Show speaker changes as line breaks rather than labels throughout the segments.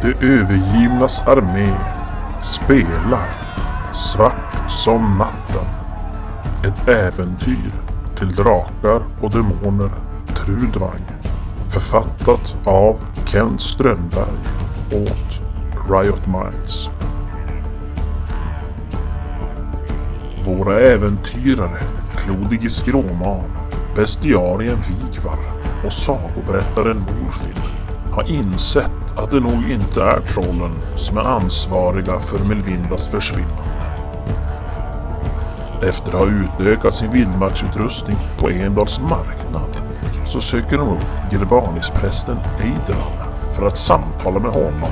Det övergivnas armé spelar Svart som natten. Ett äventyr till drakar och demoner Trudvang. Författat av Kent Strömberg åt Riot Minds. Våra äventyrare Clodigis Gråman, bestiarien Vigvar och sagoberättaren Morfin har insett att det nog inte är trollen som är ansvariga för Melvindas försvinnande. Efter att ha utökat sin vildmarksutrustning på Endals marknad så söker de upp Gervanisprästen Eideran för att samtala med honom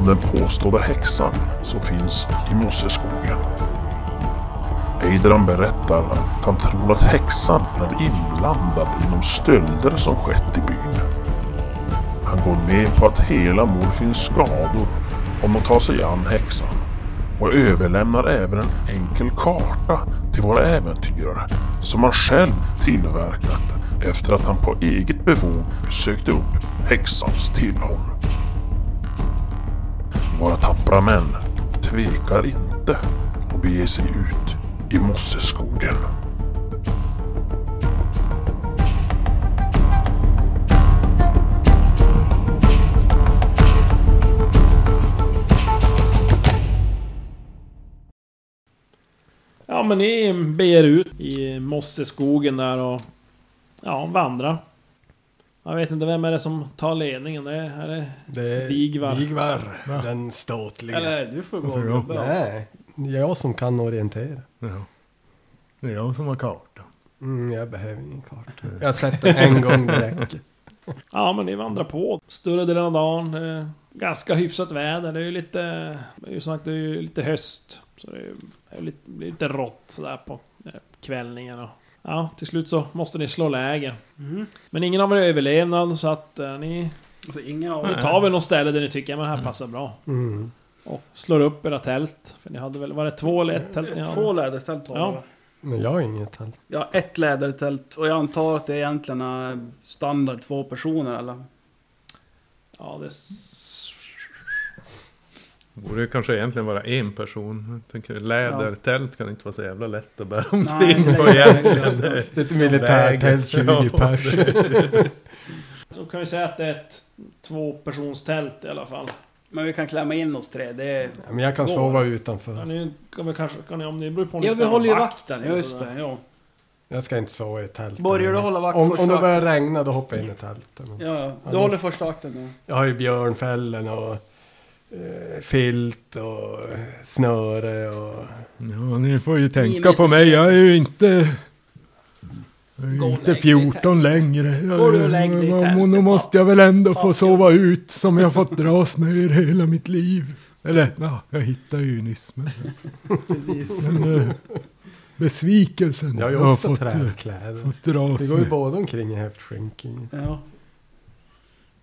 om den påstådda häxan som finns i Mosseskogen. Eideran berättar att han tror att häxan är inblandad i de stölder som skett i byn. Han går med på att hela Morfins skador om de tar sig an häxan och överlämnar även en enkel karta till våra äventyrare som han själv tillverkat efter att han på eget bevåg sökte upp häxans tillhåll. Våra tappra män tvekar inte och beger sig ut i mosseskogen.
Ja men ni beger ut i mosseskogen där och... Ja, vandra. Jag vet inte, vem är det som tar ledningen? Det är, är det...
Det är
Vigvar.
Vigvar, den ståtliga.
Eller du får gå
Varför jag?
gubbe.
Nej, det är jag som kan orientera.
Ja. Det är jag som har kartan.
Mm, jag behöver ingen karta. Jag har sett den en gång, det räcker.
Ja men ni vandrar på. Större delen av dagen. eh, Ganska hyfsat väder. Det är ju lite... Det är ju som sagt, det är ju lite höst. Så det är ju det är ju lite, blir lite rått sådär på eh, kvällningen och... Ja, till slut så måste ni slå läger.
Mm.
Men ingen av er är överlevnad så att eh, ni...
Alltså ingen av
Ni
oss...
tar väl något ställe där ni tycker att det här passar bra.
Mm.
Och slår upp era tält. För ni hade väl, var det två eller ett tält ni hade?
Två lädertält har
Ja.
jag.
Men jag har inget tält.
Jag har ett lädertält och jag antar att det egentligen är standard två personer eller?
Ja, det... s-
Borde ju kanske egentligen vara en person. Jag tänker lädertält kan inte vara så jävla lätt att bära
Nej,
omkring på
nej,
egentligen.
nej, nej.
Ett militärtält, 20 pers.
Då kan vi säga att det är ett tvåpersonstält i alla fall.
Men vi kan klämma in oss tre, det är...
Ja, Men jag kan sova utanför.
Ja, ni kan väl kanske... Kan ni, om ni beror på om ni
Ja,
ska
vi
ha
håller ju
vakt
vakten,
eller
just
sådär.
det. Ja.
Jag ska inte sova i tält.
Börjar du hålla vakt
Om,
första
om det börjar
akten?
regna då hoppar jag in i tältet. Men
Ja, ja.
Ja,
Du
då-
håller första akten nu.
Jag har ju björnfällen och eh, filt och eh, snöre och...
Ja, ni får ju tänka
meters-
på mig. Jag är ju inte... Jag är
Gå
ju
och
inte
lägg dig i
14 längre. Jag,
Gå och lägg dig i
jag-
tältet,
nu
va?
måste jag väl ändå
Ja.
få sova ut som jag fått dras med er hela mitt liv. Eller, ja, jag hittade ju nyss. Men,
Precis.
men eh, besvikelsen
Jag har ju också
fått, eh,
trädkläder.
fått dras
Vi går ju
med.
båda omkring i häftskynken.
Ja.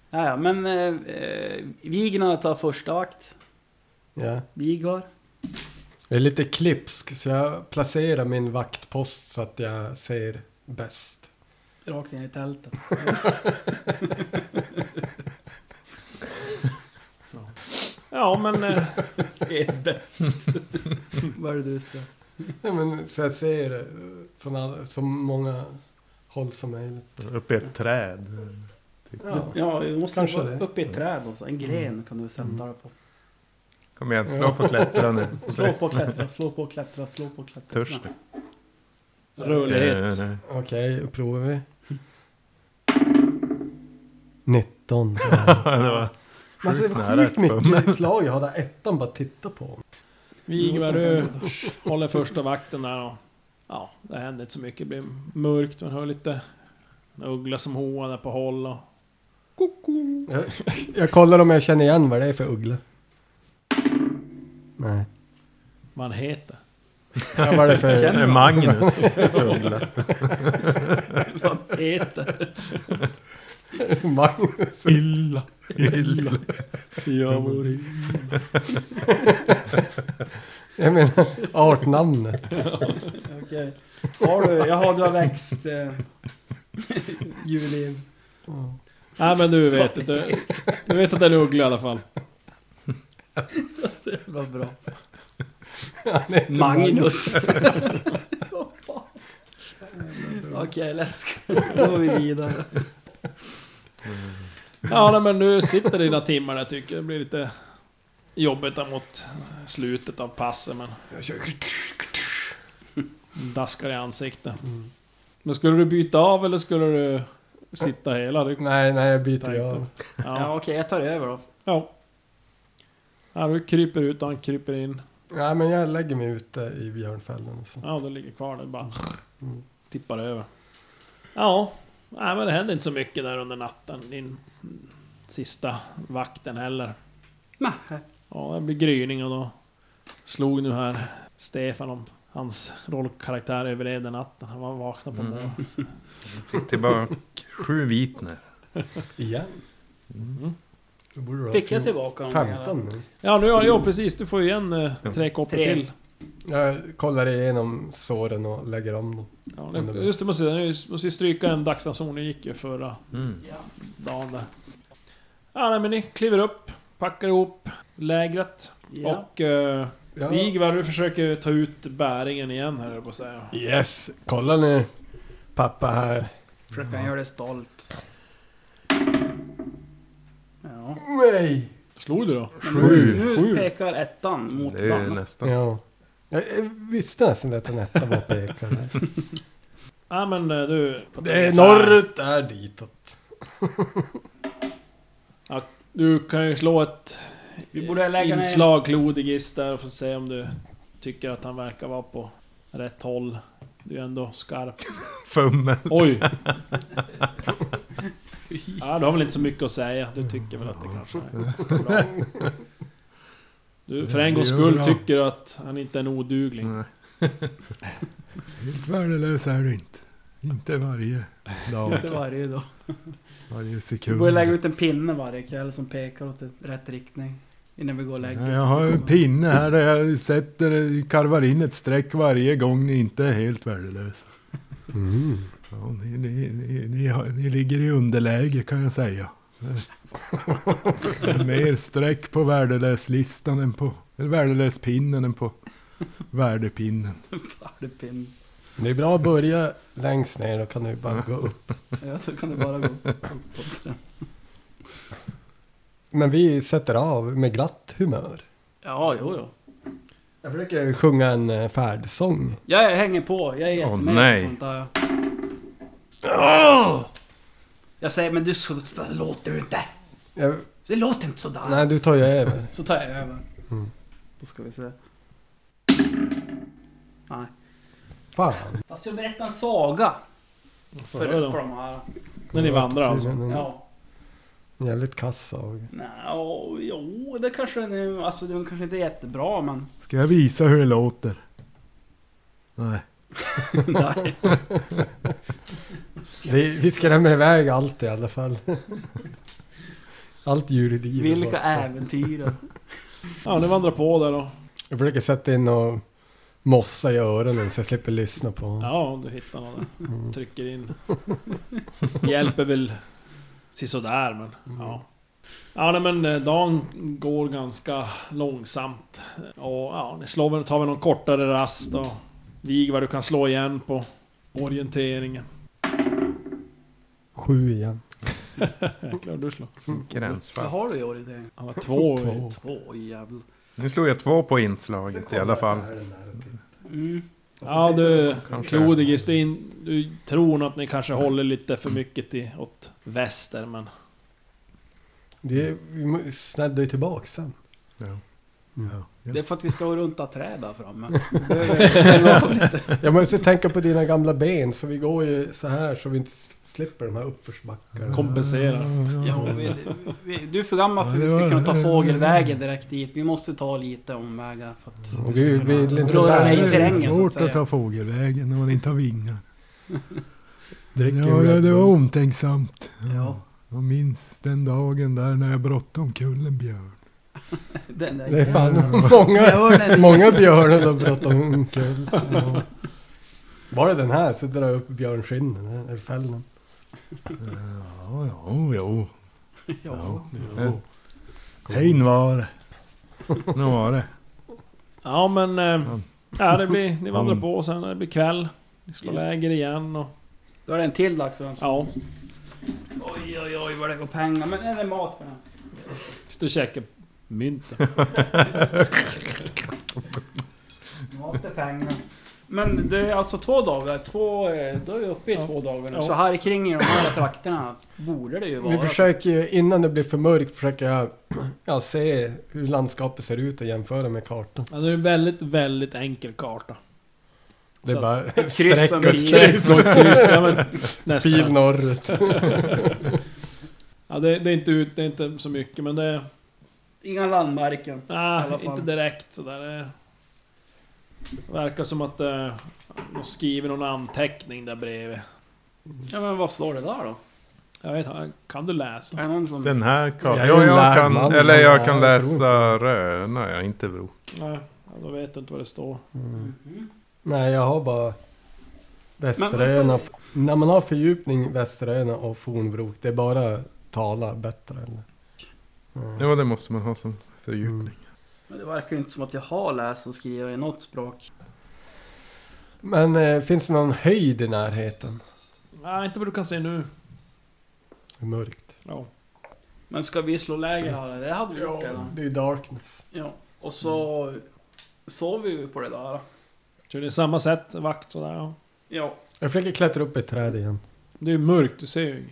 Ja, ja, men eh, eh, Vigna tar första akt.
Ja.
Vigar.
Jag är lite klipsk så jag placerar min vaktpost så att jag ser bäst.
Rakt in i tältet.
Ja, men... eh,
Se bäst. Vad är det du ska?
Ja, men, så jag ser eh, från alla, så många håll som möjligt.
Uppe i ett träd.
Ja.
Ja, du måste
Kanske
vara
det.
upp i ett träd någonstans. En gren kan du sätta dig på.
Kom igen, slå på klättra nu.
Slå på och klättra, slå på och klättra, slå på och klättra.
Törs du?
Rörlighet.
Eh,
Okej, då provar vi. 19.
det var-
Man ser
Sjukt nära
Alltså, sjukt
ett pund.
mycket slag jag har där ettan bara tittar på.
Vigvar, du håller första vakten där och... Ja, det händer inte så mycket. Det blir mörkt, man hör lite... En uggla som hoar där på håll och...
Jag, jag kollar om jag känner igen vad det är för uggla. Nej.
Vad han heter.
Ja, vad är det för...
Det är Magnus. Uggla.
Vad heter
Magnus.
Illa, illa.
Jag vore...
Jag menar artnamnet.
Okej. Har du? Jaha, du har växt. Eh, Julin.
Nej men du vet inte. Du vet att det är en uggla i alla fall.
Så jävla bra.
Han heter
Magnus. Okej, let's go. Då går vi vidare.
Ja, nej, men nu sitter dina timmar där tycker jag. Det blir lite jobbigt där mot slutet av passet, men
Jag kör-
daskar i ansiktet. Men skulle du byta av eller skulle du sitta hela? Det
Nej, nej, jag byter
tänkte
ju av.
jag.
Ja,
Ja.
okej, jag tar över då.
ja. Ja, du kryper ut och han kryper in.
Nej, men jag lägger mig ute i björnfällen. och Så.
Ja, du ligger kvar där bara.
Mm.
Tippar över. Ja, nej, men det händer inte så mycket där under natten. Din sista vakten heller.
Nähä.
Ja, det blir gryning och då slog nu här Stefan om hans rollkaraktär överlevde natten. Han var vaknad på
Mm.
morgonen.
Tillbaka sju vitner.
Igen?
Mm.
Då borde du ha
Fick jag
fjol-
tillbaka honom?
15 nu.
Ja, nu har jag precis. Du får ju igen eh,
Mm.
tre koppar
Tre.
till.
Jag kollar igenom såren och lägger om dem.
Ja,
Mm, det
det,
blir-
just det, måste jag, jag måste ju stryka en dagsranson. Det gick ju förra
Mm.
dagen där. Ja, nej, men ni kliver upp, packar ihop lägret.
Ja.
Och eh,
Ja.
Vigvar, du försöker ta ut bäringen igen här, höll jag på att säga.
Yes, kolla nu. Pappa här.
Försöker han göra dig stolt? Ja.
Nej!
Slog du då?
Men
Sju.
Nu, nu
Sju.
pekar ettan mot
Det är ju
banan.
nästan.
Ja. Jag eh, visste nästan att en etta var pekare.
Ja, men eh, du...
Det är norrut där ditåt.
Du kan ju slå ett
Vi borde lägga ner-
inslag klodigis där och få se om du tycker att han verkar vara på rätt håll. Du är ändå skarp.
Fummel.
Oj! ja, du har väl inte så mycket att säga. Du tycker väl att det kanske är ganska bra. Du, för en gångs skull tycker du att han inte är en odugling.
Nej.
Helt värdelös är du inte. Inte varje dag,
Inte varje dag.
varje
Vi borde lägga
sekund.
ut en pinne varje kväll som pekar åt ett- rätt riktning. Innan vi går och lägger
Ja,
oss.
Jag har en
Kommer-
pinne här där jag sätter, karvar in ett streck varje gång ni inte är helt värdelösa.
Mm.
Ja, ni, ni, ni, ni, har- ni ligger i underläge kan jag säga. Det är mer streck på värdelöslistan än på eller värdelöspinnen än på värdepinnen.
Ja, det är pinne.
Det är bra att börja längst ner, då kan du bara gå upp.
Ja, då kan det bara gå uppåt sen.
Men vi sätter av med glatt humör.
Ja, jo, jo.
Jag försöker sjunga en eh, färdsång.
Ja, jag hänger på. Jag är jättemed
nej.
på sånt där. Jag säger, men du så- så låter du inte.
Jag,
Det låter inte sådär.
nej, du tar ju över.
Så tar jag över.
Mm.
Då ska vi se. Nej.
Fan.
Fast jag berättar en saga för,
Förra
för
dagen.
de här.
När ni vandrar alltså.
Tydligen En
Ja.
jävligt kass saga.
Nej, åh, jo, det kanske den är... Alltså den kanske inte är jättebra men...
Ska jag visa hur det låter? Nej.
Nej.
Det, vi skrämmer iväg allt i alla fall. Allt djur i livet.
Vilka
borta.
äventyr.
Ja, ni vandrar på där då.
Jag försöker sätta in och mossa i öronen så jag slipper lyssna på.
Ja, om du hittar någon där. Trycker in. Hjälper väl sisådär men ja. Ja nej, men eh, dagen går ganska långsamt. Och ja, ni slår väl, tar väl någon kortare rast och vig vad du kan slå igen på orienteringen.
Sju igen.
Jäklar du slår.
Vad
Gränsfall.
har du i orientering?
Han var två.
Två.
Två jävlar.
Nu slog jag två på inslaget i alla fall.
Mm.
Ja du,
Kanske.
Klodigis, du, in- du tror nog att ni kanske håller lite för mycket till, åt väster men...
Det, vi må- sneddar ju tillbaka sen.
Ja.
Ja.
Det är för att vi ska gå runt av träd där framme. Då behöver vi ställa av lite.
Jag måste tänka på dina gamla ben så vi går ju så här så vi inte s- slipper de här uppförsbackarna.
Kompenserar.
Jo, vi, vi, du är för gammal för att vi
Ja,
ska
det
kunna
var-
ta fågelvägen direkt dit. Vi måste ta lite omvägar för att...
Och Vi vill inte
Röra dig i
bära.
terrängen, så att
svårt
säga.
att ta fågelvägen när man inte har vingar.
Dricker
Ja,
Red
ja, det var
Bull.
omtänksamt.
Ja.
Jag minns den dagen där när jag brottade omkull en björn.
Den där
Det är fan
Ja.
många,
Björnen.
många björnar de brottar omkull. Ja. Bara den här så drar jag upp björnskinnen, eller fällen.
Ja, ja, jo.
Ja.
Hein var det.
Nu var det.
Ja men... Eh,
Ja.
ja, det blir... Ni vandrar på och sen det blir kväll. Ni slår läger igen och...
Då är det en till dagsrunda.
Ja.
Oj, oj, oj vad det går pengar. Men är det mat på den?
Står och käkar mynten.
Mat är pengar. Men det är alltså två dagar. Två, eh, då är vi uppe i
Ja.
två dagar nu.
Ja.
Så här kring i de här trakterna borde det ju vara.
Vi försöker ju, innan det blir för mörkt, försöker jag ja, se hur landskapet ser ut och jämföra med kartan.
Ja, det är en väldigt, väldigt enkel karta.
Det
Så
är bara
kryss
streck
som
och
i.
streck.
Något kryss, ja, men
Pil
nästan.
norrut.
Ja, det, det, är inte ut, det är inte så mycket men det...
Inga landmärken. alla
Nej,
fall.
inte direkt sådär. eh. Det verkar som att eh, de skriver någon anteckning där bredvid.
Ja men vad står det där då?
Jag vet inte, kan du läsa?
Är det någon som...
Den här kartan.
Jag är en
Ja, jag
lärd
kan,
man,
eller
men
jag
jag
kan
tror
läsa röna, jag inte bro.
Nej, ja, då vet du inte vad det står.
Mhm.
Nej, jag har bara Västeröarna. När man har fördjupning Västeröarna och fornvrok, det är bara tala bättre. Eller? Mm.
Ja, det måste man ha som fördjupning.
Men det verkar ju inte som att jag har läst och skrivit i något språk.
Men eh, finns det någon höjd i närheten?
Nej, inte vad du kan se nu.
Hur mörkt?
Ja.
Men ska vi slå läger här? eller? Det hade vi gjort redan.
det är darkness.
Ja. Och så sover vi på det där.
Så det är samma sätt, vakt sådär. Ja.
Ja.
Jag försöker klättra upp i ett träd igen.
Det är ju mörkt, du ser ju inget.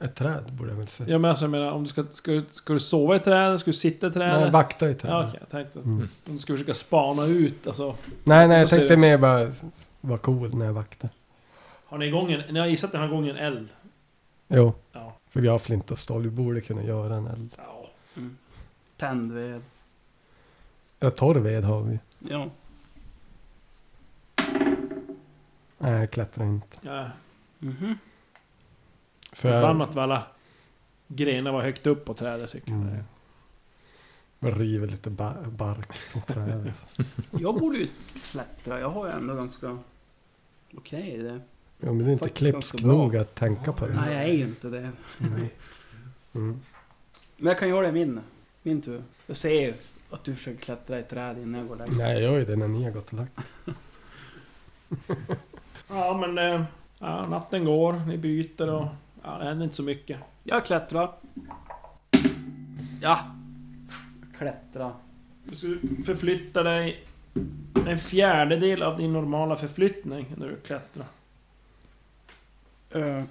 Ett träd borde jag väl säga.
Ja men alltså jag menar, om du ska, ska, du- ska du sova i trädet? Ska du sitta i trädet?
Nej, vakta i träd.
Ja, okej, jag tänkte att
Mm.
om du ska försöka spana ut, alltså.
Nej, nej,
Då
jag
ser det
tänkte
ut.
mer bara vara cool när jag vaktar.
Har ni igång en, ni har gissat att ni har igång en eld?
Jo,
Ja.
för vi har flint och stål. Vi borde kunna göra en eld.
ja.
Tändved.
Ja, torr ved har vi.
Ja.
Nej, jag klättrar inte.
ja.
Mhm.
Så jag
Förbannat vad alla grenar var högt upp på trädet tycker jag.
Mm. river lite ba- bark från trädet.
Jag borde ju klättra. Jag har ju ändå ganska... Okej i det.
Ja, men du är inte
Faktiskt
klipsk
ganska bra.
nog att tänka på det.
Nej, jag är ju inte det.
Mm.
Men jag kan göra det i min. Min tur. Jag ser ju att du försöker klättra i ett träd innan jag går där.
Nej, jag gör ju det när ni har gått och lagt
Ja men... eh, Ja, natten går, ni byter och... Ja, det händer inte så mycket.
Jag klättrar. Ja. Klättra.
Du ska förflytta dig en fjärdedel av din normala förflyttning när du klättrar.
Eh,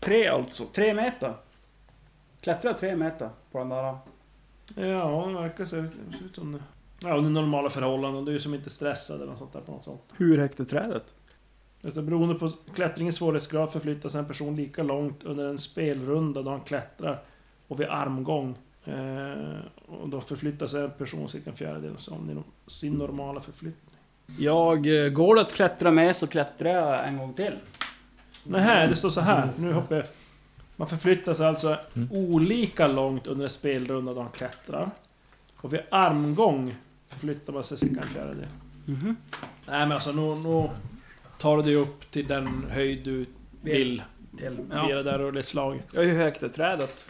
tre alltså. Tre meter. Klättra tre meter på den där.
Ja, det verkar så. Det ser ut som det. Ja, under normala förhållanden. Du är som inte stressad eller något sånt där på något sånt.
Hur högt är trädet?
Alltså, beroende på klättringens svårighetsgrad förflyttas en person lika långt under en spelrunda då han klättrar och vid armgång. Eh, och då förflyttas en person cirka en fjärdedel av sin- sin normala förflyttning.
Jag eh, går det att klättra med så klättrar jag en gång till.
Nähä, det står så här. Nu hoppar jag. Man förflyttas alltså
Mm.
olika långt under en spelrunda då han klättrar. Och vid armgång förflyttar man sig cirka en fjärdedel.
Mhm.
Nej men alltså nu, nu tar du dig upp till den höjd du vill.
Till.
Via
Ja.
det där rullslaget.
Ja, hur högt är trädet?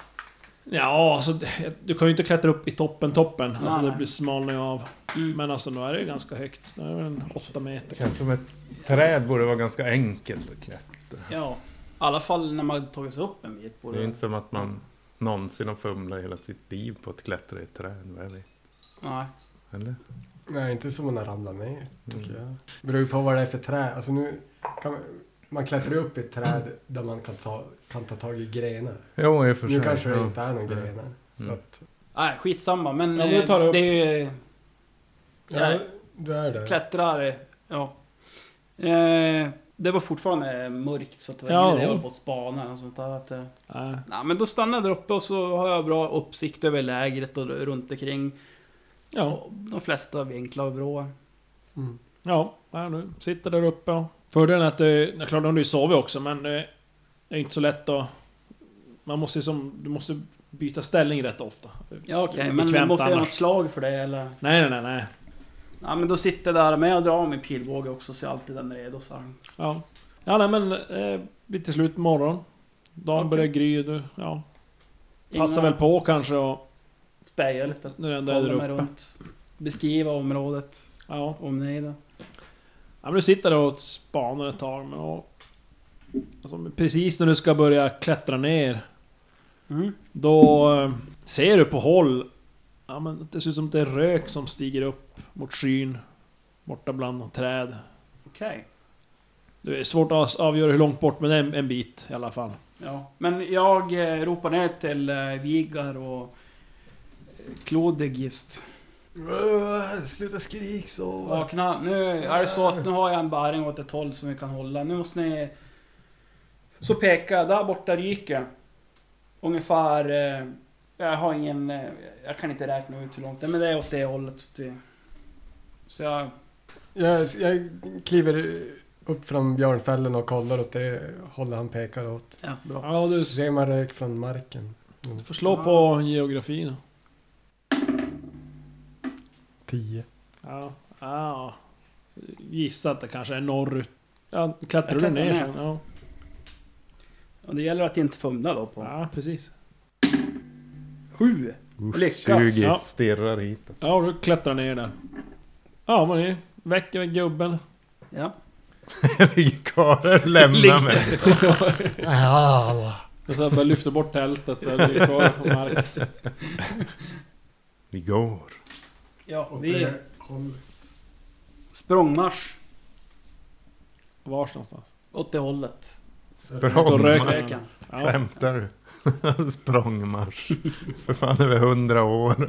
Ja, alltså det- du kan ju inte klättra upp i toppen, toppen. Alltså
Nej.
det blir smalning av.
Mm.
Men alltså nu är det ju ganska högt. Nu är det väl en åtta meter.
Det känns som ett träd borde vara ganska enkelt att klättra.
Ja. I alla fall när man tagit sig upp en bit.
Det är
Borde...
inte som att man någonsin har fumlat hela sitt liv på att klättra i ett träd, vad jag vet.
Nej.
Eller?
Nej, inte som när ramlar ner, tycker jag. Det beror ju på vad det är för träd. Alltså nu kan man, man klättrar ju upp i ett träd där man kan ta, kan ta tag i grenar.
Jo, i och för sig.
Nu kanske det
ja.
inte är någon
Ja.
grenar. Så
Mm.
att,
Nej, skitsamma. Men,
Ja, men jag
eh,
tar det upp.
det är ju...
ja,
Nej.
du är det.
Klättrar, eh, ja. Eh, det var fortfarande mörkt så att det var
Ja,
ingen idé
jo.
att hålla på och spana eller något sånt där. Att, eh,
Nej.
nej, men då stannar jag där uppe och så har jag bra uppsikt över lägret och runt omkring.
Ja,
Och de flesta vinklar och vrår.
Mm.
ja. ja nu sitter där uppe och... Fördelen är att det... ja, Klart, nu har du ju sovit också men det är inte så lätt att... Man måste ju som... Du måste byta ställning rätt ofta.
Ja okej,
Det blir
men
bekvämt
måste jag göra
annars.
något slag för det eller?
Nej, nej, nej, nej.
Ja men då sitter jag där med och drar av min pilbåge också så jag är alltid den redo så här.
Ja. Ja, nej men... Eh, blir till slut morgon. Dagen
Okej.
börjar gry och du... Ja.
Inga
Passar väl på kanske och...
speja lite.
Nu är den där
Kolla mig
uppe.
runt. Beskriva området,
Ja.
omnejden.
Ja, men du sitter och spanar ett tag men och, alltså, Precis när du ska börja klättra ner
Mm.
Då eh, ser du på håll ja, men Det ser ut som det är rök som stiger upp mot skyn Borta bland träd
Okej.
Det är svårt att avgöra hur långt bort men det är en, en bit i alla fall
Ja. Men jag eh, ropar ner till eh, Vigar och eh, Klodig just.
Sluta skrik så!
Vakna. Nu är det så att nu har jag en bäring åt ett håll som vi kan hålla. Nu måste ni... Så pekar jag. Där borta ryker. Ungefär... eh, Jag har ingen... eh, Jag kan inte räkna ut hur långt det är, men det är åt det hållet. Så, det, så jag...
Jag, jag kliver upp från björnfällen och kollar åt det hållet han pekar åt.
Ja, bra.
Ja du
Ser man rök från marken?
får slå på geografin
Tio.
Ja, ja Gissa att det kanske är norrut Ja, klättrar
Jag
du
klättrar
ner
ner.
sen? Ja,
Och det gäller att inte fumla då på...
ja precis
Sju! Lyckas.
20
Ja.
stirrar hit.
Ja, och du klättrar ner där. Ja, men ni väcker gubben.
Ja.
Jag ligger kvar och lämnar mig.
Och så bara lyfter bort tältet. Så det ligger kvar på marken.
Vi går.
ja
Åt
vi...
det hållet.
Språngmarsch
Vars någonstans?
åt det hållet.
Ut och
Språngmarsch.
röka.
Röken.
Ja.
Skämtar du? Språngmarsch. För fan över hundra år.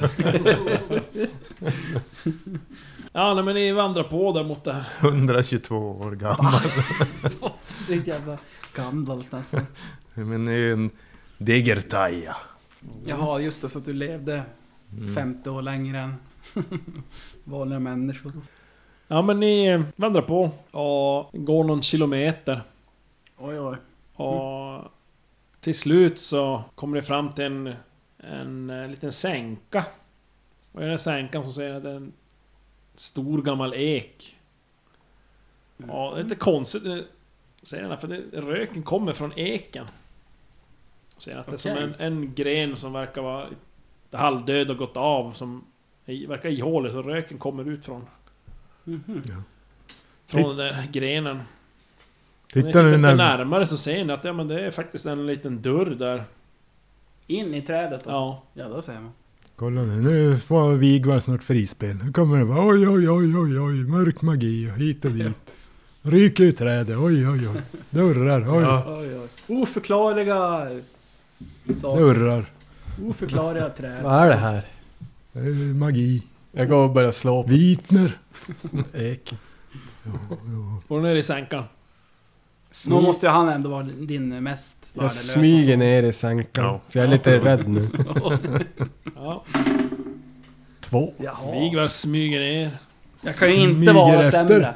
ja, nej men ni vandrar på där mot det här.
122 år gammal.
Det är jävla alltså. gammalt nästan.
Men det är ju en degertaja.
Jaha, just det. Så att du levde
Mm.
50 år längre än vanliga människor.
Ja, men ni eh, vandrar på och går någon kilometer.
Oj, oj.
Och
Mm.
till slut så kommer ni fram till en, en eh, liten sänka. Och i den här sänkan så ser ni att det är en stor gammal ek.
Mm.
Ja, det är lite konstigt eh, ser den här, för det, röken kommer från eken. Ser att det är som
Okej.
en, en gren som verkar vara lite halvdöd och gått av som i- verkar ihålig, så röken kommer ut från,
Mhm.
från den där grenen.
Titta nu
när...
när...
närmare så ser ni att ja, men det är faktiskt en liten dörr där.
In i trädet då. Ja.
Ja.
då ser man.
Kolla nu, nu får Vigvar snart frispel. Nu kommer det vara oj, oj, oj, oj, oj, mörk magi och hit och dit. Ryk ut trädet, oj, oj, oj. Dörrar, oj,
Ja.
Oj, oj. Oförklarliga saker.
dörrar.
Oförklarliga träd.
Vad är det här?
Det är Magi.
Jag går och börjar slå på
Vitner.
eken.
Går du ner i sänkan?
Nu måste ju han ändå vara din mest
Jag smyger ner i sänkan.
Ja.
För jag är lite rädd nu.
Ja.
Två.
Jaha.
Vigvar smyger ner.
Jag kan ju inte
Smyger
vara
efter.
sämre.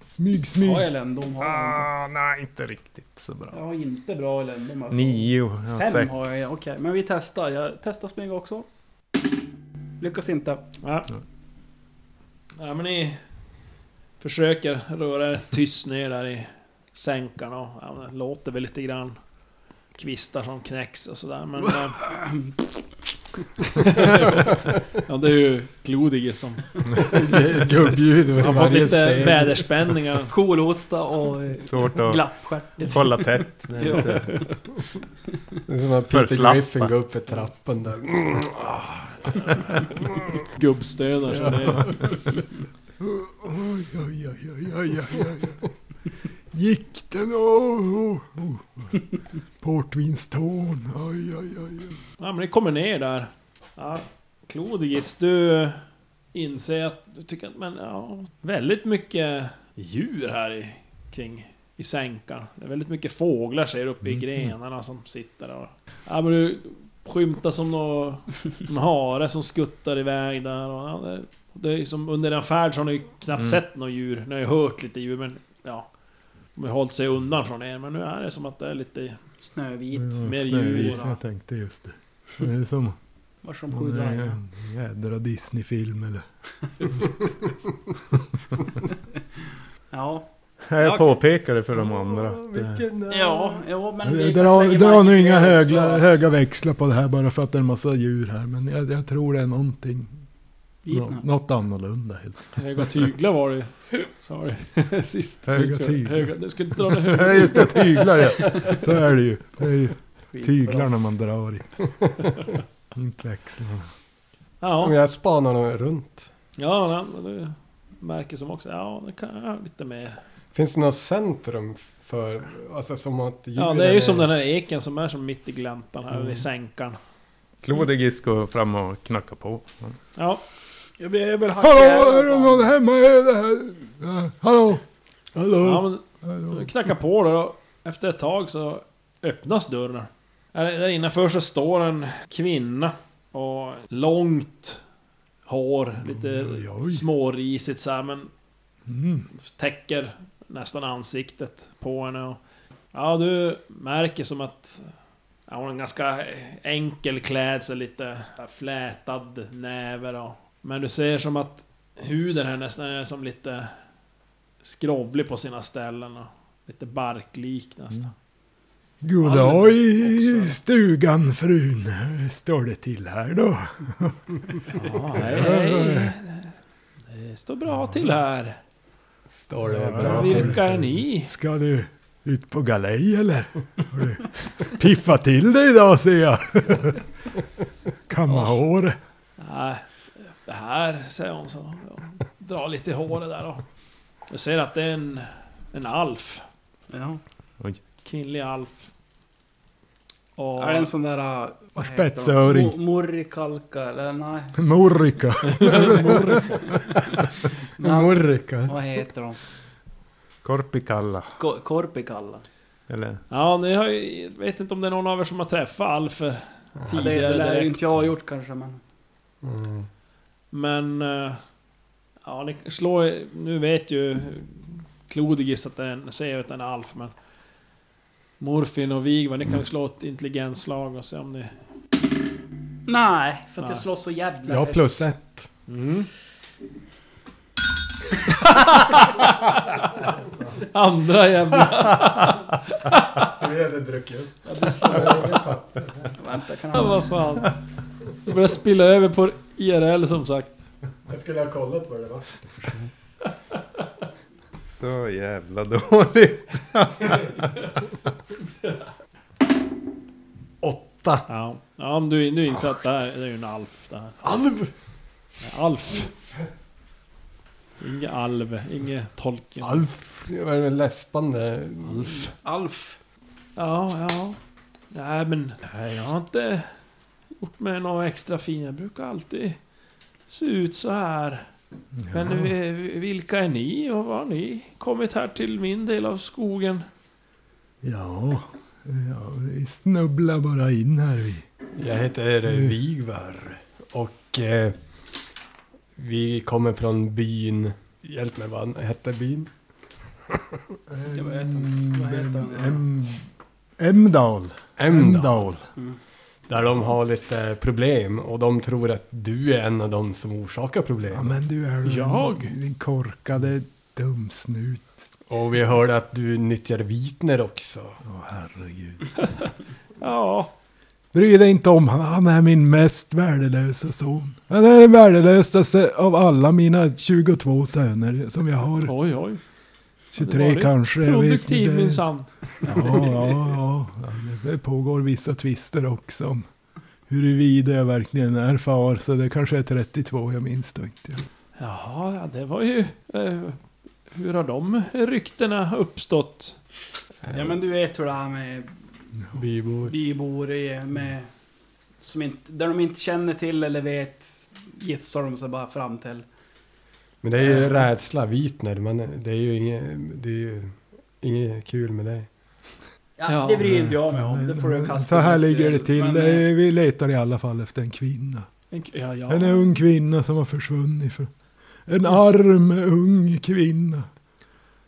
Smyg,
Har
smyg.
jag ländom? Har jag inte.
Ah, nej, inte riktigt så
Jag
bra.
har inte bra ländom. alltså.
Nio, ja,
Fem
sex.
har jag, ja, okej. Men vi testar. Jag testar smyga också. Lyckas inte.
Ja. ja men ni försöker röra er tyst ner där i sänkan och ja, men det låter väl lite grann. Kvistar som knäcks och sådär men... eh, ja det är ju Klodige som...
Gubbljud över
Han har fått
varje
lite
sten.
väderspänningar.
Kolhosta och eh,
Svårt att
glappstjärtigt.
hålla tätt. Det är inte-
Det är som när
För
Peter
slappa.
Griffin går upp för trappan där.
Gubbstönar så det...
Oj, oj, oj, oj, oj, oj, oj. Gick den? Oh, oh, oh. Portvinstorn. Oj, oj, oj. oj.
Ja men ni kommer ner där. Ja, Klodigis, du inser att du tycker att men ja, väldigt mycket djur här i, kring i sänkan. Det är väldigt mycket fåglar ser du, uppe i grenarna som sitter där. Ja men du skymtar som nå- någon hare som skuttar iväg där och ja, det, det är ju som under en färd så har ni ju knappt
Mm.
sett några djur. Ni har ju hört lite djur men ja. De har ju hållit sig undan från er men nu är det som att det är lite...
Snövit.
Ja,
mer
snövit.
djur.
Jag tänkte just det. Det är som
Var som
om det är
sjudrar.
en jädra Disney-film eller...
Ja.
Jag
okej.
påpekade för de andra.
Åh,
Att, eh,
vilken, eh,
Ja, jo men... vi
Dra,
lägger
dra
marken
nu inga
också,
höga,
att
höga växlar på det här bara för att det är en massa djur här. Men jag, jag tror det är någonting.
Gitna.
Nå, något annorlunda helt
Höga tyglar var det Sa var det sist.
Höga tyglar.
Höga, du skulle inte dra några höga
Ja
tyglar.
just det, tyglar ja. Så är det ju. Det är ju tyglarna man drar i. Inte växlarna.
Ja,
Om jag spanar nog runt.
ja, ja men det märker som också. Ja, det kan jag lite mer.
Finns det något centrum för... Alltså som att
Ja, det är ju som den här eken som är som mitt i gläntan här,
Mm.
eller i sänkan.
Klodigis går fram och knackar på.
Ja,
Ja, vi är väl
Hallå,
hackjävlar.
är det någon hemma? Är det här? Ja, Hallå?
ja
Hallå?
men
Hallå?
Du knackar på då och efter ett tag så öppnas dörren. Här- Där innanför så står en kvinna och långt hår, lite
Oj, oj.
smårisigt så här, men
Mm.
täcker nästan ansiktet på henne. Och, ja, du märker som att ja, hon har en ganska enkel klädsel, lite flätad näver och... Men du ser som att huden här nästan är som lite skrovlig på sina ställen och lite barklik nästan.
God
Ja, men
dag i
också.
stugan frun. Hur står det till här då?
Ja, hej, hej. Det står bra till här.
Står det
Ja,
bra till?
Vilka är ni?
Ska du ut på galej eller? Har du piffat till dig idag ser jag. Kamma hår.
Nej, det här, säger hon så. Jag drar lite i håret där då. Du ser att det är en, en alf.
Ja.
Kvinnlig alf. Och,
Är det en sån där... äh, vad heter de?
Spetsöring.
Mo- Morrikalka eller nej?
Morrika.
Nam-
Murrika.
vad heter de?
Korpikalla.
Ko- Korpikalla.
Eller?
Ja, ni har ju, jag vet inte om det är någon av er som har träffat alfer
Ja, det det
tidigare
lär ju
direkt.
inte jag ha gjort kanske men...
Mm.
Men... eh, Ja, ni slår... Nu vet ju Klodigis att det är en... Säger att det är en alf, men... Morfin och Vigvar, ni kan ju slå ett intelligensslag och se om ni...
Nej, för att
Nej.
jag slår så jävla
Jag har
högt.
plus ett.
Mm. Andra jävla...
Du hade druckit upp.
Vänta, kan jag...
Vad fan. Det börjar spilla över på IRL som sagt.
Jag skulle ha kollat vad det var.
Så jävla dåligt.
Åtta.
Ja, ja men du, du inser att det här det är ju en alf det här.
Alv!
Alf. Inge alv, inge tolken.
Alf. Det var en läspande...
Alf.
Alf.
Ja, ja. Nej men, nej, jag har inte gjort mig något extra fin. Jag brukar alltid se ut så här. Men vi- vi- vilka är ni och vad har ni kommit här till min del av skogen?
Ja, ja, vi snubblar bara in här vi.
Jag heter eh, Vigvar. Och eh, vi kommer från byn... Hjälp mig, vad hette byn?
Jag vet inte. Vad
Mm,
heter den?
Em- Emdal.
Emdal. Där de har lite problem och de tror att du är en av de som orsakar
Ja
problem.
men du är väl
Jag?
Din korkade dumsnut.
Och vi hörde att du nyttjar vitner också.
Åh herregud.
Ja,
Bry dig inte om han, han är min mest värdelösa son. Han är den värdelösaste av alla mina 22 söner som jag har.
oj oj.
23
varit
kanske. jag vet inte.
Produktiv
Det-
minsann.
Ja, ja, ja. Det pågår vissa tvister också om huruvida jag verkligen är far. Så det kanske är 32, jag minns då inte.
Jaha, ja, det var ju... Eh, hur har de ryktena uppstått?
Ja men du vet hur det är med
Bybor.
bybor är med... Som inte, där de inte känner till eller vet gissar de sig bara fram till.
Men det är ju rädsla, vitner. Man, det är ju inget, det är ju inget kul med dig.
Ja,
Ja.
det bryr inte jag mig om. Det får du kasta
Så här
i
ligger det
skräll.
till.
Men,
Det
eh,
är- Vi letar i alla fall efter en kvinna.
En, k- ja, ja.
En ung kvinna som har försvunnit. Från. En arm ung kvinna.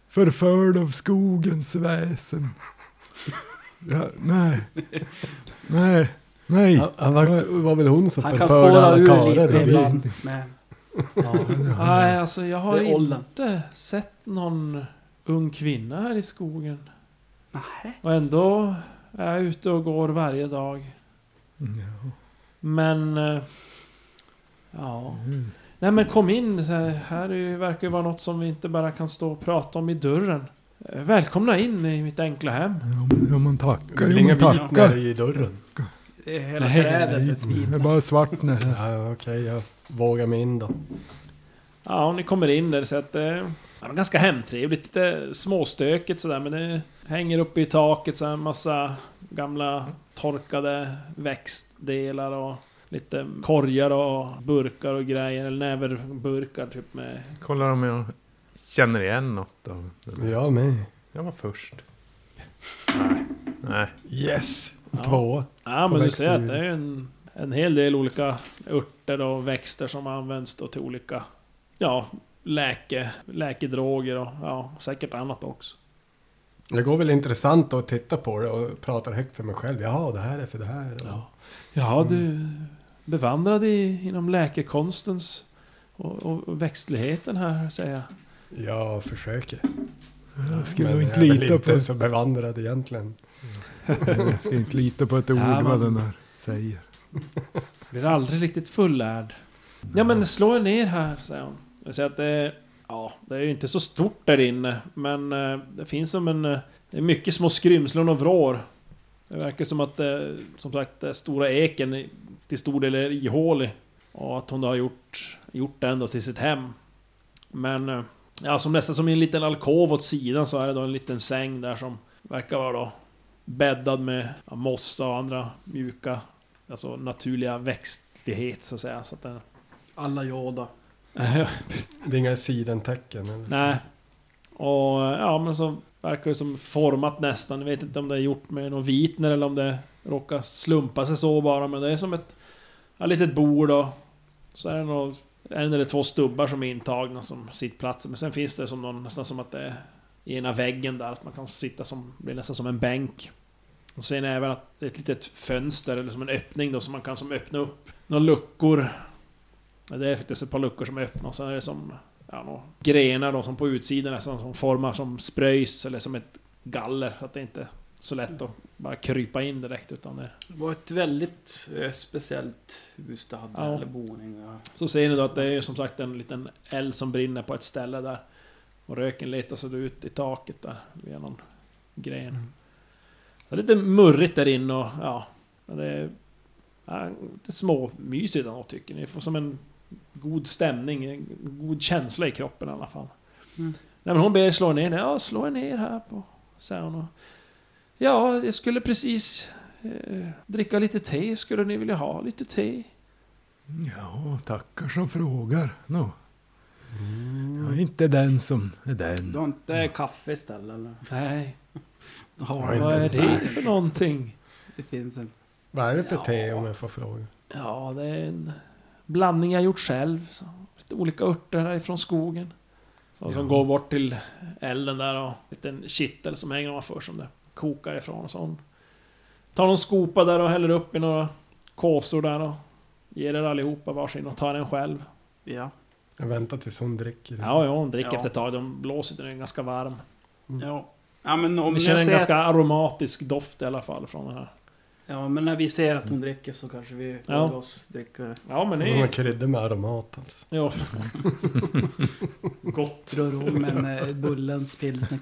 Förförd av skogens väsen. Ja, nej. Nej. Nej.
Han, han var, var väl hon som
Han kan
förförde
spåra
alla
ur
karlar
lite
i byn?
ibland. Med,
Nej, alltså jag har
Det är åldern.
inte sett någon ung kvinna här i skogen.
Nej.
Och ändå är jag ute och går varje dag.
Ja.
Men... eh, Ja... Nej men kom in. Så här- Här är ju- verkar ju vara något som vi inte bara kan stå och prata om i dörren. Eh, Välkomna in i mitt enkla hem.
Ja, men- ja, man tackar.
väl
Ja,
inga
man
vittnen
tackar.
i dörren?
Det är hela
Nej,
trädet ett
Det är
vin.
bara svart nära.
Ja, okej, jag vågar mig in då.
Ja, och ni kommer in där så att... eh, Ja, det var ganska hemtrevligt. Lite småstökigt sådär men det hänger uppe i taket så här en massa gamla torkade växtdelar och lite korgar och burkar och grejer. Eller näverburkar typ med...
Kollar om jag känner igen något av den.
Jag med.
Jag var först. Nej. Nej.
Yes!
Ja.
Två.
Ja,
på
men du
växter.
ser att det är en, en hel del olika örter och växter som används då till olika... Ja, läke, läkedroger och ja, säkert annat också.
Det går väl intressant att titta på det och prata högt för mig själv. Jaha, det här är för det här. Och,
Ja. Ja, du bevandrad i, inom läkekonstens och, och, och växtligheten här, säger jag.
Jag försöker.
Jag skulle
Men
nog
jag
inte
är väl
lita
inte
på...
så bevandrad egentligen.
Jag ska inte lita på ett ord
Ja,
vad
men-
den där säger.
Blir aldrig riktigt fullärd. Ja men slå er ner här, säger hon. Jag säger att det... Ja, det är ju inte så stort där inne. Men eh, det finns som en... eh, Det är mycket små skrymslen och vrår. Det verkar som att, eh, som sagt, den stora eken i- till stor del är ihålig. Och att hon då har gjort, gjort den då till sitt hem. Men... eh, Ja, som nästan som i en liten alkov åt sidan så är det då en liten säng där som verkar vara då bäddad med ja, mossa och andra mjuka alltså naturliga växtlighet så att säga. Så att eh, den,
Alla Yoda.
Det är inga sidentecken. Eller?
nej. Och ja, men så verkar det som format nästan. Jag vet inte om det är gjort med någon vitner eller om det råkar slumpa sig så bara. Men det är som ett ja, litet bord och så är det nog en eller två stubbar som är intagna som sittplatser. Men sen finns det som någon, nästan som att det är i ena väggen där. Att man kan sitta som, blir nästan som en bänk. Och sen även att det är ett litet fönster eller som en öppning då som man kan som öppna upp några luckor. Ja, Det är faktiskt ett par luckor som är öppna och sen är det som ja, nå, grenar då som på utsidan nästan som formar som spröjs eller som ett galler. Så att det inte är så lätt att bara krypa in direkt utan det...
Det var ett väldigt eh, speciellt hus det hade,
Ja.
eller boning. Ja.
Så ser ni då att det är ju som sagt en liten eld som brinner på ett ställe där. Och röken letar sig då ut i taket där via någon gren. Det är lite murrigt där inne och ja... Men det är... Ja, lite småmysigt ändå tycker ni. Får som en god stämning, en god känsla i kroppen i alla fall.
Mm.
Nej men hon ber er slå er ner. Ja, slå er ner här på... Säger hon och, Ja, jag skulle precis... Eh, dricka lite te. Skulle ni vilja ha lite te?
Ja, tackar som frågar. Nå. Jag är inte den som är
Du
den.
har inte kaffe istället eller?
Nej,
Har
du
Vad
inte
är
det.
det för någonting?
Det finns en.
Vad är det för
Ja.
te om jag får fråga?
Ja, det är en blandning jag gjort själv. Så, lite olika örter härifrån skogen. Så, Som går bort till elden där och en liten kittel som hänger ovanför som det kokar ifrån. Och så hon tar någon skopa där och häller upp i några kåsor där och ger er allihopa varsin och tar en själv.
Ja.
Jag väntar tills hon dricker.
Ja, ja, hon dricker
Ja.
efter ett tag. De blåser den är ganska varm.
Ja. Ja men om
Ni
jag
känner en
ser
ganska aromatisk doft i alla fall från den här.
Ja men när vi ser att hon dricker så kanske vi
Ja.
låter oss dricka.
Ja, men
Hon har
ni...
kryddor med aromat alltså.
Ja,
Gott. Rör om en eh, Bullens pilsner.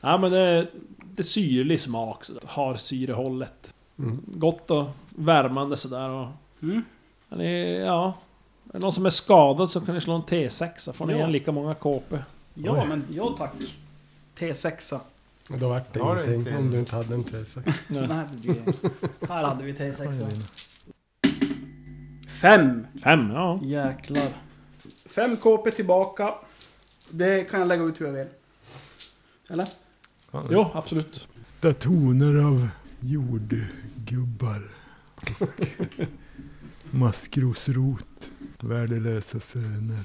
Ja men det, det är syrlig smak, så har syrehållet.
Mm.
Gott och värmande sådär och...
Mm.
Ja, det är- ja. Är det någon som är skadad så kan ni slå en T6, får ni
Ja.
igen lika många KP.
Ja
Oj.
men ja tack. T6.
Och Då vart det
Ja, det är
ingenting
inte-
om du inte hade en te. så-
Ja.
Nej, det blir- Här hade vi T6. Fem.
Fem, ja.
Jäklar. Fem KP tillbaka. Det kan jag lägga ut hur jag vill. Eller?
Fan,
Jo, absolut.
Åtta toner av jordgubbar. Och Maskrosrot. Värdelösa söner.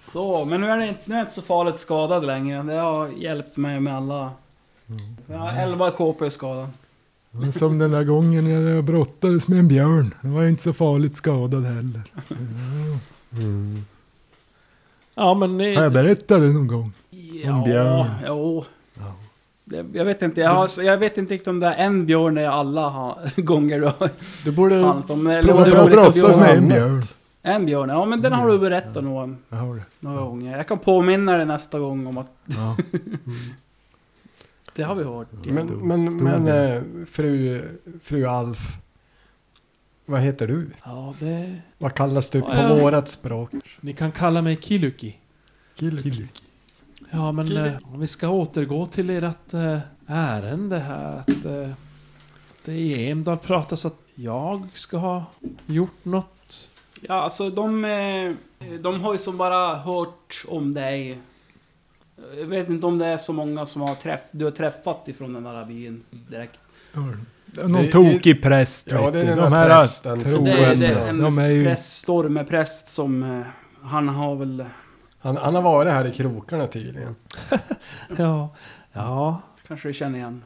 Så, men nu är, det inte, nu är jag inte så farligt skadad längre. Det har hjälpt mig med alla... Jag har 11 KP i skadan.
Det var som den där gången jag brottades med en björn. Då var jag inte så farligt skadad heller.
Mm.
Ja, men... det-
Har jag berättat det någon gång?
Ja,
En björn.
jo. Det, jag vet inte, jag, har, jag vet inte riktigt om det är en björn är alla ha, gånger du har
Du borde...
handlat om. Eller om
Mm. Prova
det
bra-
var
att
bra-
olika
brottas
björn.
med Mm.
annat.
en björn.
En björn, ja men den har du berättat någon,
Jag har det.
några gånger. Jag kan påminna dig nästa gång om att
Ja.
det har vi hört.
Men,
Stor-
men,
stor
men
björn.
eh, fru, fru Alf. Vad heter du?
Ja, det...
Vad kallas du på
Ja, ja.
vårat språk?
Ni kan kalla mig Kiluki.
Kill.
Ja, men
Kille.
eh, om vi ska återgå till ert eh, ärende här. Att eh, det i Emdal pratas att jag ska ha gjort något.
Ja, alltså de, eh, de har ju som bara hört om dig. Jag vet inte om det är så många som har träff, du har träffat ifrån den där byn direkt.
Någon
det-
tokig präst.
Ja,
vet
det är
du.
den
de
där
här
prästen som-
Det är, det är
troende.
en
De är ju...
präst, stormepräst som... eh, Han har väl...
Han, han har varit här i krokarna tydligen.
Ja, ja.
Kanske du känner igen.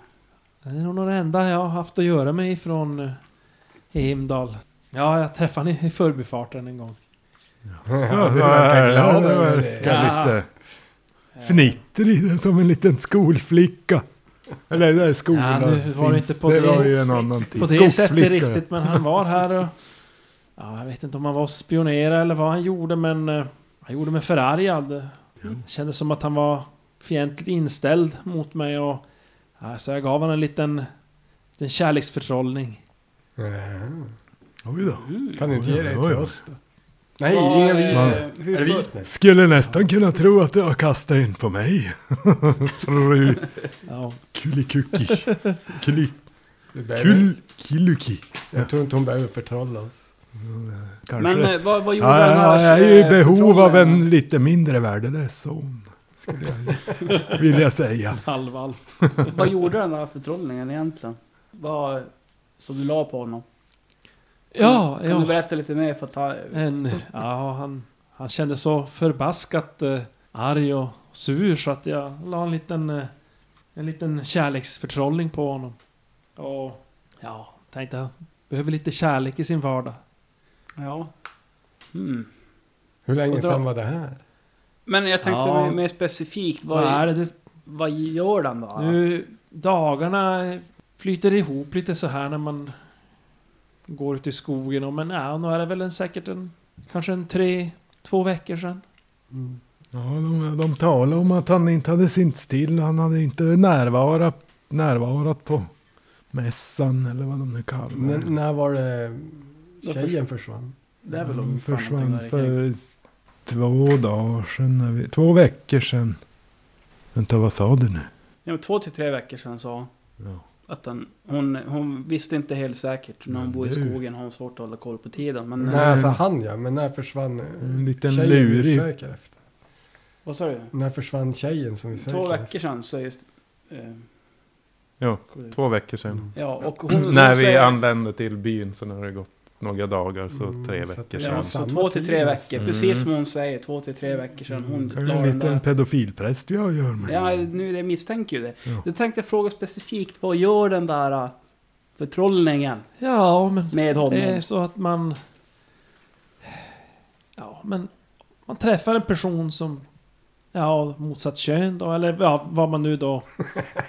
Det är nog det enda jag har haft att göra med ifrån eh, Emdal. Ja, jag träffade ni i förbifarten en gång.
Ja, du verkar glad över det.
alltså, verkar
Ja.
lite fnittrig. det är Som en liten skolflicka. Eller det är skolan.
Ja, nu var det
finns.
inte på
det
det-
var ju en annan tid.
På det sättet
Skogsflicka.
riktigt, men han var här och... Ja, jag vet inte om han var och spionerade eller vad han gjorde, men... eh, Han gjorde mig förargad. Det kändes som att han var fientligt inställd mot mig och... Ja, så jag gav honom en liten... En kärleksförtrollning.
Mhm.
Oj då.
Kan du inte ge dig
Oj,
till
oj.
oss då? Nej,
Vad,
inga
eh,
viner.
hur
Är det
för-
vit nu?
Skulle nästan kunna tro att du har kastat in på mig. Fru
Ja,
Kulikuki. Kli,
Du behöver-
kul, kiluki.
Jag tror inte hon behöver förtrolla oss.
Kanske.
Men eh, vad, vad gjorde
ja,
den
ja,
här...
jag är ju i
eh,
behov av
förtrollningen?
en lite mindre värdelös son. Skulle jag vilja säga.
halvalf.
Vad gjorde den här förtrollningen egentligen? Vad... Som du la på honom?
Ja,
Kan du
ja.
berätta lite mer för att ta...
En, ja han, han kände så förbaskat eh, arg och sur så att jag la en liten... Eh, en liten kärleksförtrollning på honom. Och... Ja, tänkte han behöver lite kärlek i sin vardag.
Ja. Mm.
Hur länge
Och dra-
sedan var det här?
Men jag tänkte
Ja.
mer, mer specifikt, vad,
Vad är det? det
vad gör den då?
nu, dagarna flyter ihop lite så här när man går ut i skogen. Och, men ja, nu är det väl en, säkert en... Kanske en tre, två veckor sedan.
Ja, de, de talade om att han inte hade sint still. Han hade inte närvarat, närvarat på mässan eller vad de nu kallar
N-
det.
när var det
När
tjejen försvann?
Det är väl
Han
om fan
Mm, försvann
någonting där kring.
för två dagar sedan. när vi- Två veckor sedan. Vänta, vad sa du nu?
Ja, men två till tre veckor sedan sa
Ja.
att den, hon, hon visste inte helt säkert. När hon
Men
bor i
du-
skogen har hon svårt att hålla koll på tiden. Men eh,
Nej, alltså han ja, men när försvann eh,
En liten
tjejen vi
lurig.
söker efter?
vad sa du?
När försvann tjejen som vi söker
Två
efter?
veckor sedan så just... Eh,
Ja, två veckor sedan.
ja, och hon...
När
hon
vi
säger-
använde till byn så har det gått några dagar, så
Mm,
tre
så att
veckor
det
Ja,
sedan. Mm.
så
Samma
två till tre
tid
veckor.
nästan.
Precis som hon säger, två till tre veckor sedan hon
Mm. Är
la
det en
den
liten
där.
pedofilpräst vi har att göra med?
Ja, nu det misstänker ju det.
Ja.
Jag tänkte fråga specifikt, vad gör den där eh, förtrollningen
Ja, men...
med honom?
Det
Eh,
är Eh, så att man... Ja, men... Man träffar en person som... Ja, motsatt kön då, eller ja, vad man nu då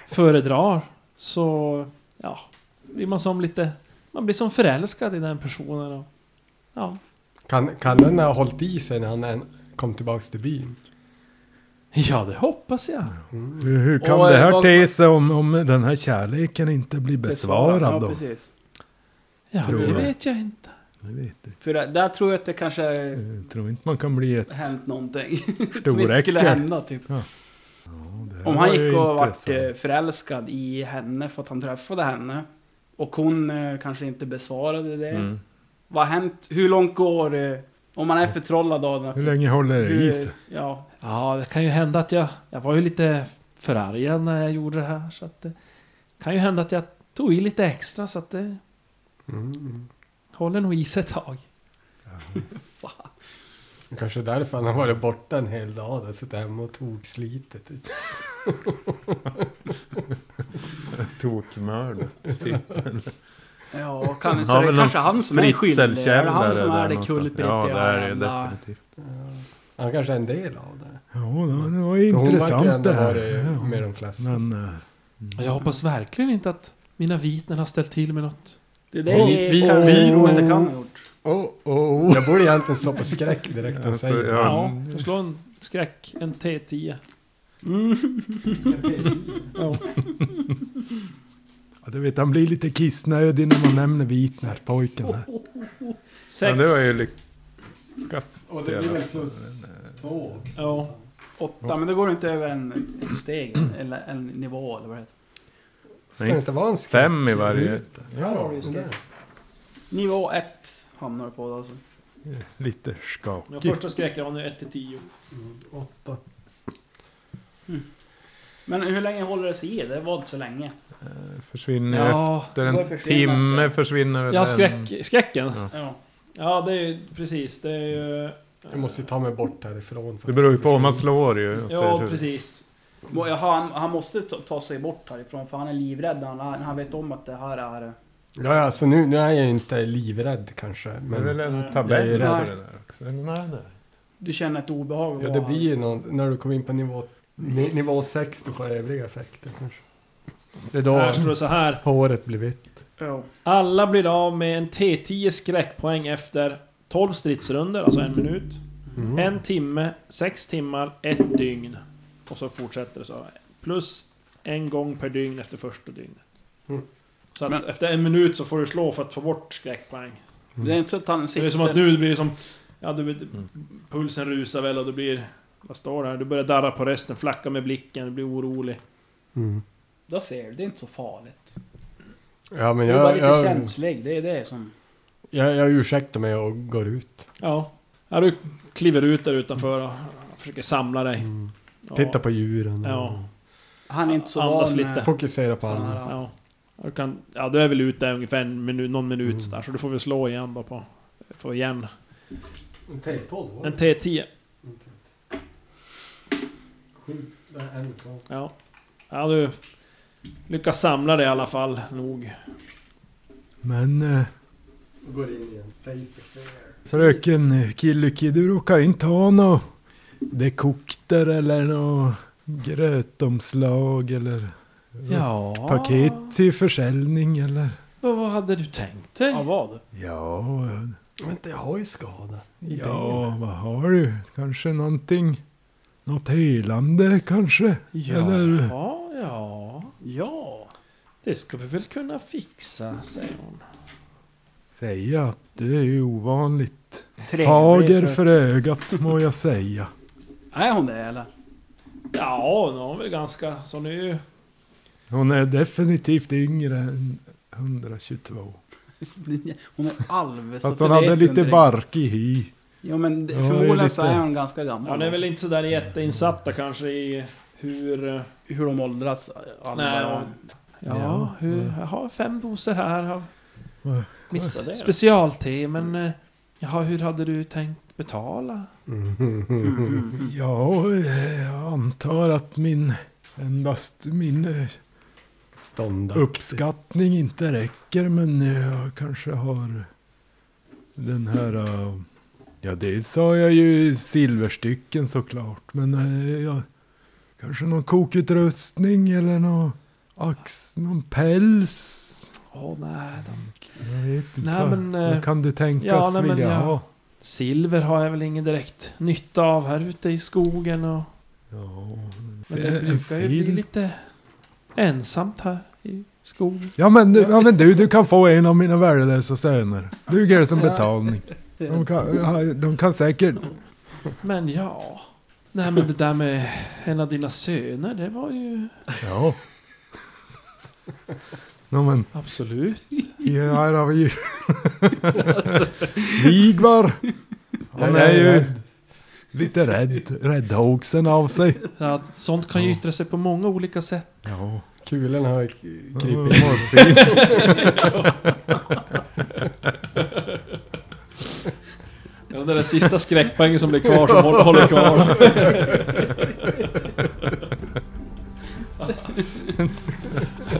föredrar. Så... Ja. Blir man som lite... Man blir som förälskad i den personen. Och, ja.
Kan, kan den ha hållit i sig när han en, kom tillbaks till byn?
Ja, det hoppas jag.
Hur, hur kan
Och,
det
eh,
här
vad-
te sig om, om den här kärleken inte blir besvarad
Besvara. Ja,
då?
precis.
Ja,
Tror
det
jag.
vet jag inte.
Jag vet inte.
För där, där tror jag att det kanske
Jag tror inte man kan bli ett...
hänt någonting. som inte skulle
Storäckel.
hända typ.
Ja, det här
Om
var
han
ju
gick och vart
intressant.
eh, förälskad i henne för att han träffade henne. Och hon eh, kanske inte besvarade det.
Mm.
Vad har hänt? Hur långt går... eh, Om man är förtrollad av den här
Hur länge håller det i
hur,
sig?
Ja.
Ja, det kan ju hända att jag... Jag var ju lite förargad när jag gjorde det här. Så att det kan ju hända att jag tog i lite extra så att det
Mm.
håller nog i sig ett tag.
Kanske därför han har varit borta en hel dag. Han har suttit hemma och typ. tokslitit.
Tokmörd. Typ.
Ja, och kan, så
har
det är
väl
kanske
någon
han som är skyldig. Är det
fritzelkällare
han
där
som är det
någonstans.
kulprit
Ja,
i
det är det
varenda-
definitivt.
Han kanske är en del av det.
Ja, det
För
var
hon verkar ju
intressant
ändå
det här.
vara det med
Ja.
de flesta.
Men eh,
Jag hoppas verkligen inte att mina vitner har ställt till med något.
Det
Vi-
där
vi- vi-
kanske vi inte kan ha gjort.
oh, oh.
Jag borde egentligen slå på skräck direkt och
Alltså,
säga
ja.
det.
Ja, jag slår en skräck, en T10.
Ja, du vet, han blir lite kissnödig när man nämner Vitner, pojken här.
Men
Sex.
det var ju lyckat.
Och
det blir väl
plus två
Ja.
Åtta, men det går inte över en, en steg eller en nivå eller vad det heter.
Ska det inte vara en skräck?
Fem i varje.
Ja, men det-
Nivå ett hamnar du på då alltså.
Lite skak.
Min första skräckraden är 1 till 10. Mm,
åtta.
Mm. Men hur länge håller det sig i? Det var inte så länge.
Försvinner ju
Ja,
efter
det
en
börjar försvinna
timme.
efter.
Försvinner väl
ja
en-
skräck, skräcken.
Ja.
Ja.
Ja, det är ju precis. Det är ju...
Jag måste ju ta mig bort härifrån. för
Det
att
beror ju
ska
på, man
försvinna.
slår ju. och ser
Ja,
hur-
precis.
Och Han, han måste ta, ta sig bort härifrån för han är livrädd. Han, han vet om att det här är...
Ja, ja, alltså nu, nu är jag ju inte livrädd kanske.
Det är väl
Men
Mm.
en
Jag är
tabell
rädd.
för det där också? Eller Nej, nej.
Du känner ett obehag att
ja, det
vara
blir
här.
ju någon, när du kommer in på nivå, ni- nivå sex, du får övriga effekter kanske. Det är då
Här står det så här.
håret blir vitt.
Ja.
Alla blir av med en T10 skräckpoäng efter 12 stridsrunder, alltså en minut.
Mm.
En timme, sex timmar, ett dygn. Och så fortsätter det så. Plus en gång per dygn efter första dygnet.
Mm.
Så att
Men-
efter en minut så får du slå för att få bort skräckpoäng.
Det är inte så att han sitter...
Mm. Det är som att nu det blir som... Ja, du,
Mm.
Pulsen rusar väl och du blir... Vad står det här? Du börjar darra på rösten, flacka med blicken, du blir orolig.
Mm.
Då ser du, det är inte så farligt.
Ja, men
Du är bara
jag,
lite
jag,
känslig, det är det som...
jag, jag ursäktar mig och går ut.
Ja. ja du kliver ut där utanför och försöker samla dig.
Mm.
Ja.
Titta på djuren. och
Ja.
Han är inte så
Andas
van
lite.
med
Fokusera på
sådana
annat.
här...
Ja. Du, kan, ja, du är väl ute ungefär en minut, någon minut
Mm.
sådär, så du får väl slå igen då på... Få igen.
En T12
En T10. Ja. Ja, du lyckas samla dig i alla fall nog.
Men eh,
Går in igen. Face the fair.
fröken Killuki, du råkar inte ha något dekokter eller något grötomslag eller
Ah.
Ja...
paket till försäljning eller?
Vad vad hade du tänkt dig?
Ja, vad?
Ja,
Vänta, jag har ju skada. I benen.
ja, vad har du? Kanske någonting? Något helande kanske? Eller?
Ja, ja...
Ja.
Det ska vi väl kunna fixa, säger hon.
Säga att du är ju ovanligt
Trevlig
fager
frukt.
för ögat må jag säga.
Är hon det eller?
Ja, hon är väl ganska... Så nu...
Hon är definitivt yngre än 122.
Hon är alv. så
Fast
det
hon
vet du
hade lite
inte
barkig hy.
Ja men det-
Ja, det är
förmodligen så
lite-
är hon ganska gammal.
Ja, ni är väl inte sådär jätteinsatta kanske i hur... eh,
Hur de åldras. Alvar.
Nej, hon- Ja,
Ja,
hur... Jag har fem doser här av
Va?
mitt
Vad är det?
specialte, men... eh, Jaha, hur hade du tänkt betala?
Mm.
Mhm.
Ja, eh, jag antar att min endast min eh,
Ståndaktig.
uppskattning inte räcker men eh, jag kanske har den här... eh, Ja, dels har jag ju silverstycken såklart men eh, jag, kanske någon kokutrustning eller någon ax, någon päls.
Åh, nej. De...
Jag vet inte.
Nej,
vad-
men, eh,
vad kan du tänkas
ja, nej, men
vilja
jag-
ha?
Silver har jag väl ingen direkt nytta av här ute i skogen och...
Ja,
Men det
en
brukar ju bli
filt.
lite ensamt här i skogen.
Ja men, du, ja men du, du kan få en av mina värdelösa söner. Duger det som betalning. De kan, ja, de kan säkert...
Men ja... Nej men det där med en av dina söner, det var ju...
Ja. Nå men,
Absolut.
här har vi ju... Vigvar! Han
Jag
är
är
ju
rädd.
lite rädd, räddhågsen av sig.
Ja, att sånt kan ju
Ja.
yttra sig på många olika sätt.
Ja.
Kulorna har ju k- krypit.
Morfin.
Ja, den där sista skräckpoängen som blir kvar som håller- håller kvar.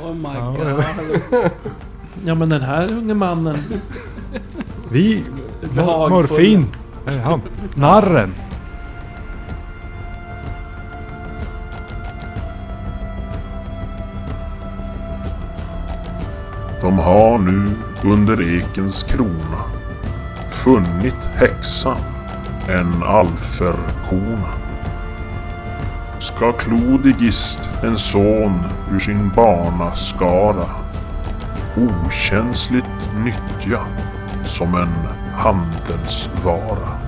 Oh my
Ja.
god.
Ja men den här unge mannen.
Vi...
Behagfull.
Morfin! Är han. Narren!
De har nu under ekens krona funnit häxan, en alferkona. Ska Klodigist en son ur sin barnaskara okänsligt nyttja som en handelsvara.